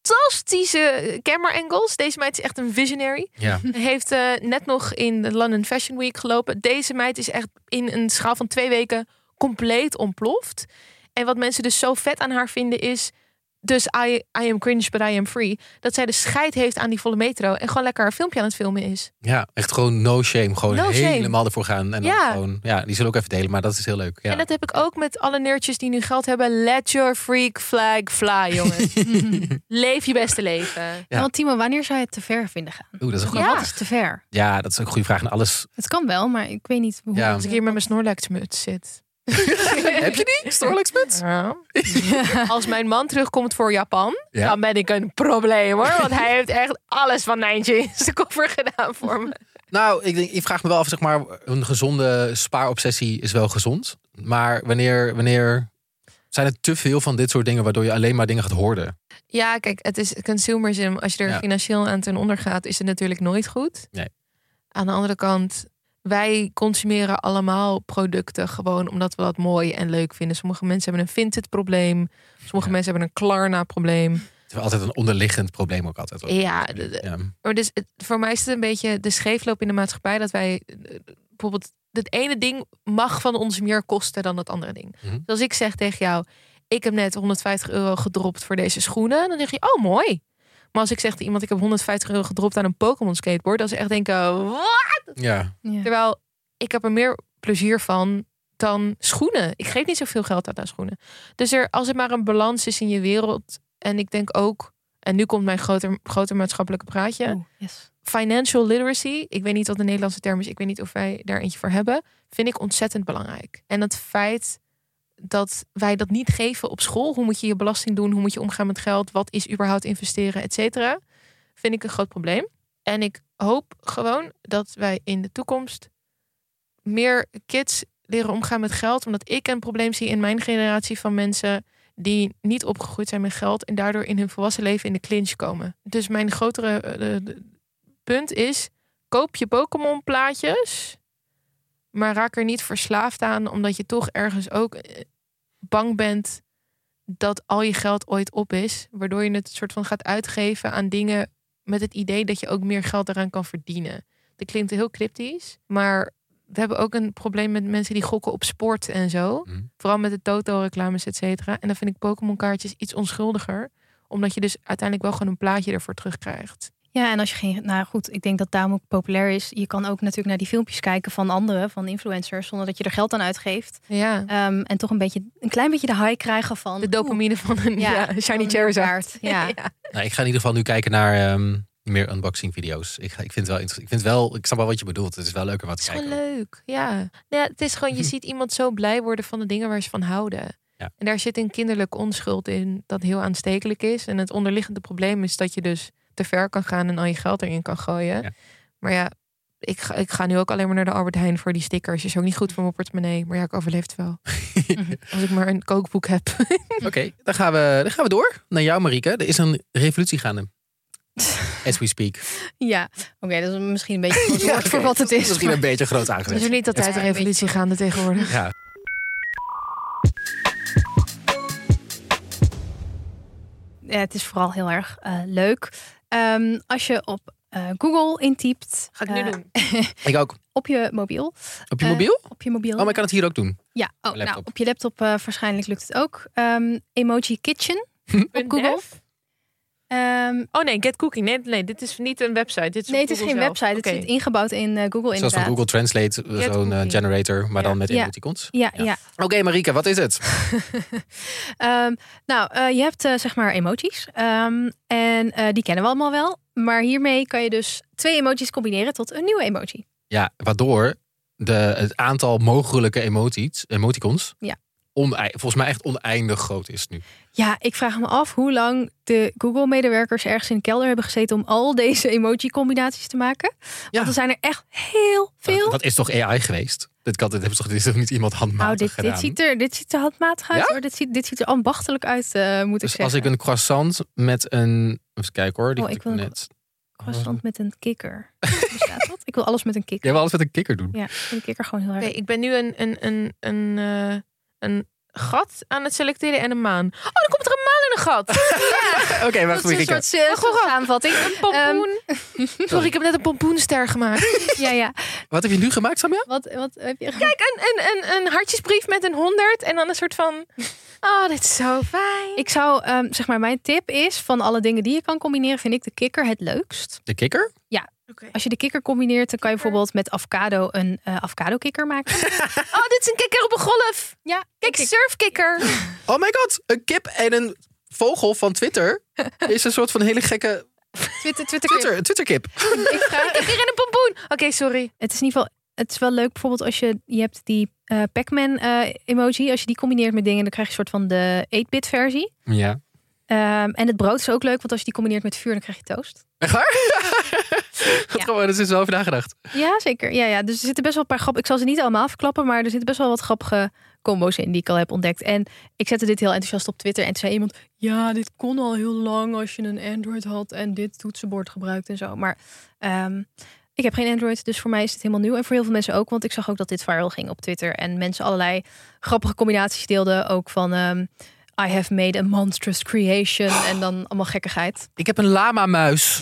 S4: fantastische camera angles. Deze meid is echt een visionary.
S5: Ja.
S4: Heeft eh, net nog in de London Fashion Week gelopen. Deze meid is echt in een schaal van twee weken compleet ontploft. En wat mensen dus zo vet aan haar vinden is... Dus I, I am cringe, but I am free. Dat zij de scheid heeft aan die volle metro. En gewoon lekker haar filmpje aan het filmen is.
S5: Ja, echt gewoon no shame. Gewoon
S4: No shame.
S5: helemaal ervoor gaan. En
S4: Ja.
S5: dan gewoon, ja, die zullen ook even delen, maar dat is heel leuk. Ja.
S4: En dat heb ik ook met alle neurtjes die nu geld hebben. Let your freak flag fly, jongens. Leef je beste leven.
S6: Ja, Want Timo, wanneer zou je het te ver vinden gaan?
S5: Oeh, dat is een goede
S6: ja. Wat
S5: vraag.
S6: is te ver?
S5: Ja, dat is ook een goede vraag. En alles.
S6: Het kan wel, maar ik weet niet hoe.
S5: Ja.
S4: Als ik hier met mijn snorlaxmuts zit.
S5: Heb je die? Snorlaxmuts?
S4: Ja. Als mijn man terugkomt voor Japan,
S5: Ja.
S4: dan ben ik een probleem hoor. Want hij heeft echt alles van Nijntje in zijn koffer gedaan voor me.
S5: Nou, ik, denk, ik vraag me wel af, zeg maar, een gezonde spaarobsessie is wel gezond. Maar wanneer, wanneer zijn er te veel van dit soort dingen waardoor je alleen maar dingen gaat hoorden?
S4: Ja, kijk, het is consumerism. Als je er
S5: Ja.
S4: financieel aan ten onder gaat, is het natuurlijk nooit goed.
S5: Nee.
S4: Aan de andere kant, wij consumeren allemaal producten gewoon omdat we dat mooi en leuk vinden. Sommige mensen hebben een vintage probleem. Sommige mensen hebben een Klarna probleem.
S5: Terwijl altijd een onderliggend probleem ook altijd. hoor.
S4: Ja, de- de-
S5: Ja.
S4: maar dus het- voor mij is het een beetje de scheefloop in de maatschappij dat wij eh, bijvoorbeeld het ene ding mag van ons meer kosten dan het andere ding.
S5: Mhm.
S4: Dus als ik zeg tegen jou, ik heb net 150 euro gedropt voor deze schoenen, dan zeg je, oh mooi. Maar als ik zeg tegen iemand, ik heb 150 euro gedropt aan een Pokémon skateboard, dan ze echt denken, wat?
S5: Ja.
S4: Terwijl ik heb er meer plezier van dan schoenen. Ik geef niet zoveel geld uit aan schoenen. Dus er, als het maar een balans is in je wereld. En ik denk ook, en nu komt mijn groter, groter maatschappelijke praatje. Financial literacy, ik weet niet wat de Nederlandse term is. Ik weet niet of wij daar eentje voor hebben. Vind ik ontzettend belangrijk. En het feit dat wij dat niet geven op school. Hoe moet je je belasting doen? Hoe moet je omgaan met geld? Wat is überhaupt investeren? Et cetera. Vind ik een groot probleem. En ik hoop gewoon dat wij in de toekomst meer kids leren omgaan met geld. Omdat ik een probleem zie in mijn generatie van mensen die niet opgegroeid zijn met geld en daardoor in hun volwassen leven in de clinch komen. Dus mijn grotere eh, eh, punt is: koop je Pokémon plaatjes, maar raak er niet verslaafd aan, omdat je toch ergens ook eh, bang bent dat al je geld ooit op is, waardoor je het soort van gaat uitgeven aan dingen met het idee dat je ook meer geld daaraan kan verdienen. Dat klinkt heel cryptisch, maar we hebben ook een probleem met mensen die gokken op sport en zo. Vooral met de Toto-reclames, et cetera. En dan vind ik Pokémon-kaartjes iets onschuldiger, omdat je dus uiteindelijk wel gewoon een plaatje ervoor terugkrijgt.
S6: Ja, en als je geen. Nou goed, ik denk dat daarom ook populair is. Je kan ook natuurlijk naar die filmpjes kijken van anderen, van influencers, zonder dat je er geld aan uitgeeft.
S4: Ja.
S6: Ehm, en toch een beetje, een klein beetje de high krijgen van. De
S4: dopamine van een ja, shiny Charizard.
S6: Ja.
S5: Nou, ik ga in ieder geval nu kijken naar ehm, meer unboxing video's. Ik, ga, ik vind het wel interessant. Ik vind het wel, ik snap wel wat je bedoelt. Het is wel leuk om wat te
S4: Het is
S5: kijken.
S4: gewoon leuk. Ja. Nou ja, het is gewoon, je ziet iemand zo blij worden van de dingen waar ze van houden.
S5: Ja.
S4: En daar zit een kinderlijke onschuld in dat heel aanstekelijk is. En het onderliggende probleem is dat je dus te ver kan gaan en al je geld erin kan gooien. Maar ja, ik ga, ik ga nu ook alleen maar naar de Albert Heijn voor die stickers. Is ook niet goed voor mijn portemonnee. Maar ja, ik overleef het wel. Mhm. Als ik maar een kookboek heb.
S5: Oké, dan, gaan we, dan gaan we door naar jou, Marieke. Er is een revolutie gaande. As we speak.
S6: Ja, oké, dat is misschien een beetje groot woord voor wat het
S5: Dat
S6: is.
S5: Misschien
S6: maar-
S5: een beetje groot
S4: Het is
S5: aangewezen.
S4: er niet dat
S5: Het-
S4: tijd de revolutie gaande tegenwoordig.
S5: Ja.
S6: Ja, het is vooral heel erg eh, leuk. Ehm, als je op eh, Google intypt. Ga ik
S5: Eh,
S6: nu doen.
S5: Ik ook.
S6: Op je mobiel.
S5: Op je
S6: Eh,
S5: mobiel?
S6: op je mobiel.
S5: Oh, maar ik kan het hier ook doen.
S6: Ja, oh,
S5: Mijn laptop.
S6: nou, op je laptop eh, waarschijnlijk lukt het ook. Ehm, emoji Kitchen op Google.
S4: oh nee, Get Cooking. Nee, nee, dit is niet een website. Dit is
S6: Nee, het is geen website.
S4: Oké.
S6: Het zit ingebouwd in eh, Google
S5: Zoals van
S6: inderdaad.
S5: Google Translate, eh,
S6: Get
S5: zo'n eh,
S6: cooking.
S5: generator, maar dan met
S6: Ja.
S5: emoticons.
S6: Ja, ja.
S5: Oké, Marieke, wat is het?
S6: Ehm, nou, eh, je hebt eh, zeg maar emoties. Ehm, en eh, die kennen we allemaal wel. Maar hiermee kan je dus twee emoties combineren tot een nieuwe emoji.
S5: Ja, waardoor de, het aantal mogelijke emoties, emoticons
S6: Ja.
S5: onei- volgens mij echt oneindig groot is nu.
S6: Ja, ik vraag me af hoe lang de Google-medewerkers ergens in de kelder hebben gezeten om al deze emoji-combinaties te maken. Want er zijn er echt heel veel.
S5: Nou, Dat is toch AI geweest? Dit, kan, dit, hebben ze toch, dit is toch niet iemand handmatig
S6: Nou, dit,
S5: gedaan?
S6: dit, ziet er, dit ziet er handmatig uit.
S5: Ja?
S6: Hoor. Dit, ziet, dit ziet er ambachtelijk uit, eh, moet ik
S5: dus
S6: zeggen.
S5: als ik een croissant met een... Even kijken hoor, die
S6: Oh,
S5: had
S6: ik
S5: ik
S6: wil-
S5: net...
S4: croissant met een kikker. Hoe staat dat? Ik wil alles met een kikker.
S5: Jij wil alles met een kikker doen.
S4: Ja, ik vind kikker gewoon heel erg.
S16: Nee, ik ben nu een, een, een, een, eh, een gat aan het selecteren en een maan. Oh, dan komt er een maan in een gat.
S5: Oké, wacht
S16: Dat is
S5: voor
S16: een
S5: Rika.
S16: soort eh, samenvatting. Een pompoen. Sorry, ik heb net een pompoenster gemaakt.
S4: ja, ja.
S5: Wat heb je nu gemaakt, Samia?
S4: Wat, wat heb je
S16: Kijk, een, een, een, een hartjesbrief met een 100 en dan een soort van... Oh, dit is zo fijn.
S4: Ik zou, ehm, zeg maar, mijn tip is van alle dingen die je kan combineren, vind ik de kikker het leukst.
S5: De kikker?
S4: Ja. Als je de kikker combineert, dan kan je bijvoorbeeld met avocado een eh avocado kikker maken.
S16: Oh, dit is een kikker op een golf.
S4: Ja.
S16: Kijk, surfkikker.
S5: Oh my god, een kip en een vogel van Twitter is een soort van hele gekke
S4: Twitter, Twitter,
S5: Twitter, Twitterkip.
S16: Ik ga een kikker in een pompoen. Oké, sorry.
S4: Het is in ieder geval, het is wel leuk bijvoorbeeld als je, je hebt die eh, Pac-Man eh, emoji. Als je die combineert met dingen, dan krijg je een soort van de 8-bit versie.
S5: Ja.
S4: Ehm, en het brood is ook leuk, want als je die combineert met vuur, dan krijg je toast.
S5: Echt waar? Dat gewoon, er is wel over nagedacht.
S4: Ja, zeker. Ja, ja. Dus er zitten best wel een paar grappige... Ik zal ze niet allemaal verklappen, maar er zitten best wel wat grappige combo's in die ik al heb ontdekt. En ik zette dit heel enthousiast op Twitter en toen zei iemand... Ja, dit kon al heel lang als je een Android had en dit toetsenbord gebruikt en zo. Maar ehm, ik heb geen Android, dus voor mij is het helemaal nieuw. En voor heel veel mensen ook, want ik zag ook dat dit viral ging op Twitter. En mensen allerlei grappige combinaties deelden. Ook van ehm, I have made a monstrous creation en dan allemaal gekkigheid.
S5: Ik heb een lama-muis.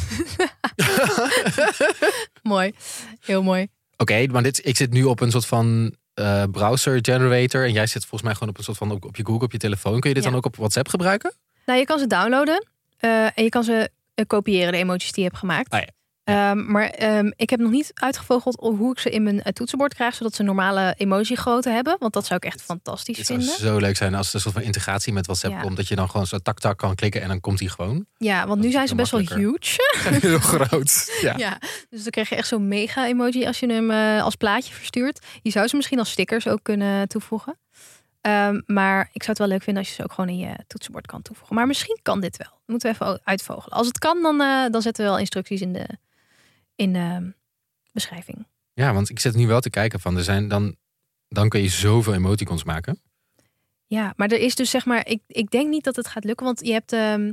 S4: mooi, heel mooi.
S5: Oké, maar dit, ik zit nu op een soort van eh, browser generator. En jij zit volgens mij gewoon op een soort van op, op je Google, op je telefoon. Kun je dit
S4: Ja.
S5: dan ook op WhatsApp gebruiken?
S4: Nou, je kan ze downloaden eh, en je kan ze eh, kopiëren, de emojis die je hebt gemaakt.
S5: Ah ja.
S4: Ehm, maar ehm, ik heb nog niet uitgevogeld hoe ik ze in mijn eh, toetsenbord krijg, zodat ze een normale emoji-grootte hebben. Want dat zou ik echt fantastisch
S5: Het zou
S4: vinden.
S5: zo leuk zijn als er een soort van integratie met WhatsApp
S4: Ja.
S5: komt. Dat je dan gewoon zo tak-tak kan klikken en dan komt die gewoon.
S4: Ja, want nu zijn ze best wel huge.
S5: Heel groot. Ja.
S4: Ja. dus dan krijg je echt zo'n mega-emoji als je hem eh, als plaatje verstuurt. Je zou ze misschien als stickers ook kunnen toevoegen. Ehm, maar ik zou het wel leuk vinden als je ze ook gewoon in je toetsenbord kan toevoegen. Maar misschien kan dit wel. Moeten we even o- uitvogelen. Als het kan, dan, eh, dan zetten we wel instructies in de, in de beschrijving.
S5: Ja, want ik zit nu wel te kijken van, er zijn dan, dan kun je zoveel emoticons maken.
S4: Ja, maar er is dus zeg maar, ik, ik denk niet dat het gaat lukken. Want je hebt, ehm,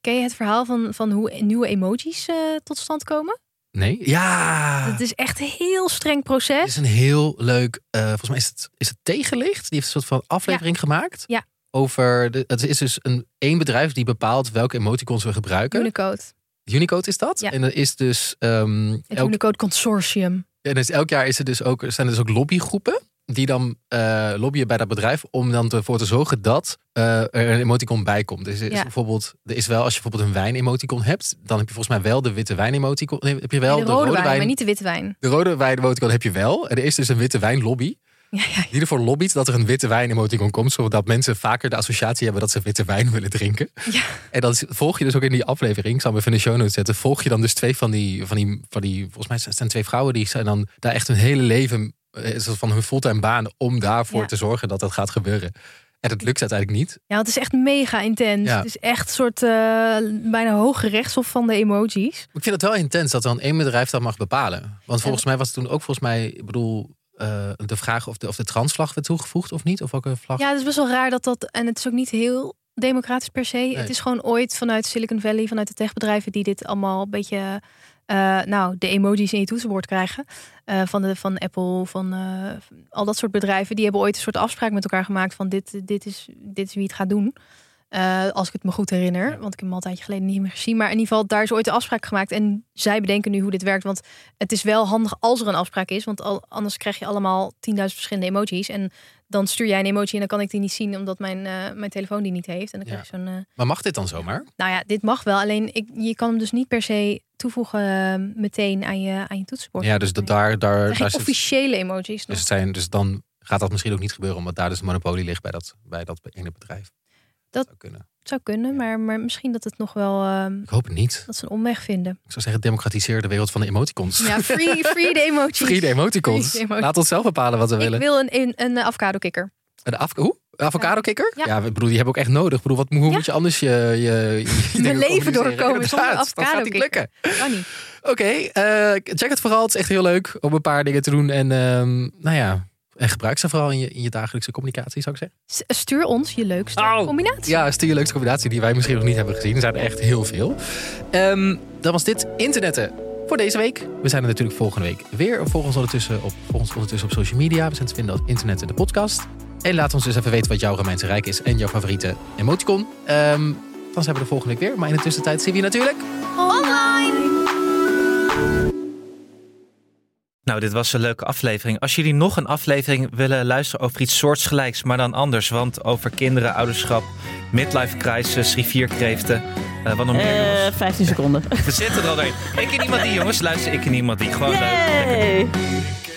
S4: ken je het verhaal van, van hoe e- nieuwe emojis eh, tot stand komen?
S5: Nee? Ja!
S4: Het
S5: Het
S4: is echt een heel streng proces.
S5: Ah. is een heel leuk, eh, volgens mij is het, is het Tegenlicht. Die heeft een soort van aflevering gemaakt.
S4: Ja,
S5: Over, de, het is dus een, één bedrijf die bepaalt welke emoticons we gebruiken.
S4: Unicode.
S5: Unicode is dat. En er is dus ehm,
S4: Het
S5: elk,
S4: Unicode Consortium.
S5: en dus elk jaar is er dus ook, zijn er dus ook lobbygroepen. Die dan eh, lobbyen bij dat bedrijf om dan ervoor te zorgen dat eh, er een emoticon bij komt. Dus er is
S4: Ja.
S5: bijvoorbeeld, er is wel, als je bijvoorbeeld een wijn-emoticon hebt, dan heb je volgens mij wel de witte wijn-emoticon. Nee, heb je wel
S4: de, rode wijn, maar niet de witte wijn.
S5: de rode wijn-emoticon heb je wel. En er is dus een witte wijn-lobby. Die ervoor lobbyt dat er een witte wijn-emoticon komt. Zodat mensen vaker de associatie hebben dat ze witte wijn willen drinken. En dan volg je dus ook in die aflevering. Ik zal hem even in de show notes zetten. Volg je dan dus twee van die, van die, van die volgens mij zijn het twee vrouwen. Die zijn dan daar echt hun hele leven, eh, soort van hun fulltime baan. Om daarvoor
S4: Ja.
S5: te zorgen dat dat gaat gebeuren. En dat lukt uiteindelijk niet.
S4: Ja, het is echt mega intens.
S5: Ja.
S4: Het is echt een soort eh, bijna hoge rechtshof van de emojis.
S5: Maar Ik vind het wel intens dat dan één bedrijf dat mag bepalen. Want volgens mij was het toen ook volgens mij, ik bedoel, eh, de vraag of de, of de transvlag werd toegevoegd of niet. Of welke vlag.
S4: Ja, het is best wel raar dat dat... En het is ook niet heel democratisch per se. Het is gewoon ooit vanuit Silicon Valley, vanuit de techbedrijven... die dit allemaal een beetje... eh, nou, de emojis in je toetsenbord krijgen. Eh, van, de, van Apple, van eh, al dat soort bedrijven. Die hebben ooit een soort afspraak met elkaar gemaakt... van dit, dit, is, dit is wie het gaat doen. Eh, als ik het me goed herinner. Want ik heb hem al een tijdje geleden niet meer gezien. Maar in ieder geval, daar is ooit een afspraak gemaakt. En zij bedenken nu hoe dit werkt. Want het is wel handig als er een afspraak is. Want al, anders krijg je allemaal 10.000 verschillende emojis. En dan stuur jij een emoji en dan kan ik die niet zien. Omdat mijn, eh, mijn telefoon die niet heeft. En dan krijg je zo'n... eh,
S5: Maar mag dit dan zomaar?
S4: nou ja, dit mag wel. Alleen ik, je kan hem dus niet per se toevoegen eh, meteen aan je, aan je toetsenbord.
S5: Ja, dus dat daar, daar,
S4: Het zijn
S5: daar
S4: geen
S5: zit, dus,
S4: officiële emojis. nog.
S5: het zijn, dus dan gaat dat misschien ook niet gebeuren, omdat daar dus een monopolie ligt bij dat, bij dat ene bedrijf.
S4: dat zou
S5: kunnen.
S4: maar, maar misschien dat het nog wel... ehm,
S5: Ik hoop het niet.
S4: dat ze een omweg vinden.
S5: Ik zou zeggen, democratiseer de wereld van de emoticons.
S4: Ja, free, free de emojis.
S5: Free de emoticons. Nou,
S4: Free de emojis.
S5: Laat ons zelf bepalen wat we
S4: Ik
S5: willen.
S4: wil een, een, een avocado kikker.
S5: Een af, hoe? Een avocado-kikker?
S4: Ja.
S5: Ja. ik bedoel, die hebben we ook echt nodig. Ik bedoel, wat, hoe moet je anders je, je, je
S4: Mijn
S5: dingen
S4: leven
S5: communiceren?
S4: doorkomen zonder
S5: Inderdaad, dat
S4: avocado
S5: gaat niet lukken.
S4: kikker. Kan niet.
S5: Oké, eh, check het vooral. Het is echt heel leuk om een paar dingen te doen. En ehm, nou ja, En gebruik ze vooral in je, in je dagelijkse communicatie, zou ik zeggen.
S4: S- Stuur ons je leukste combinatie.
S5: Oh. Ja, stuur je leukste combinatie die wij misschien nog niet hebben gezien. Er zijn er echt heel veel. Ehm dat was dit internetten voor deze week. We zijn er natuurlijk volgende week weer. Volg ons ondertussen op, volg ons ondertussen op social media. We zijn te vinden op internet en de podcast. En laat ons dus even weten wat jouw Romeinse Rijk is en jouw favoriete emoticon. Ehm dan zijn we er volgende week weer. Maar in de tussentijd zien we je natuurlijk.
S6: Nou, dit was een leuke aflevering. Als jullie nog een aflevering willen luisteren over iets soortgelijks, maar dan anders. Want over kinderen, ouderschap, midlife crisis, rivierkreeften. eh wat nog meer? jongens?
S17: Eh 15 seconden.
S6: We zitten er al doorheen. Ik en iemand die, jongens. Luister, ik en iemand die. Gewoon leuk.
S17: Hey.
S6: Lekker.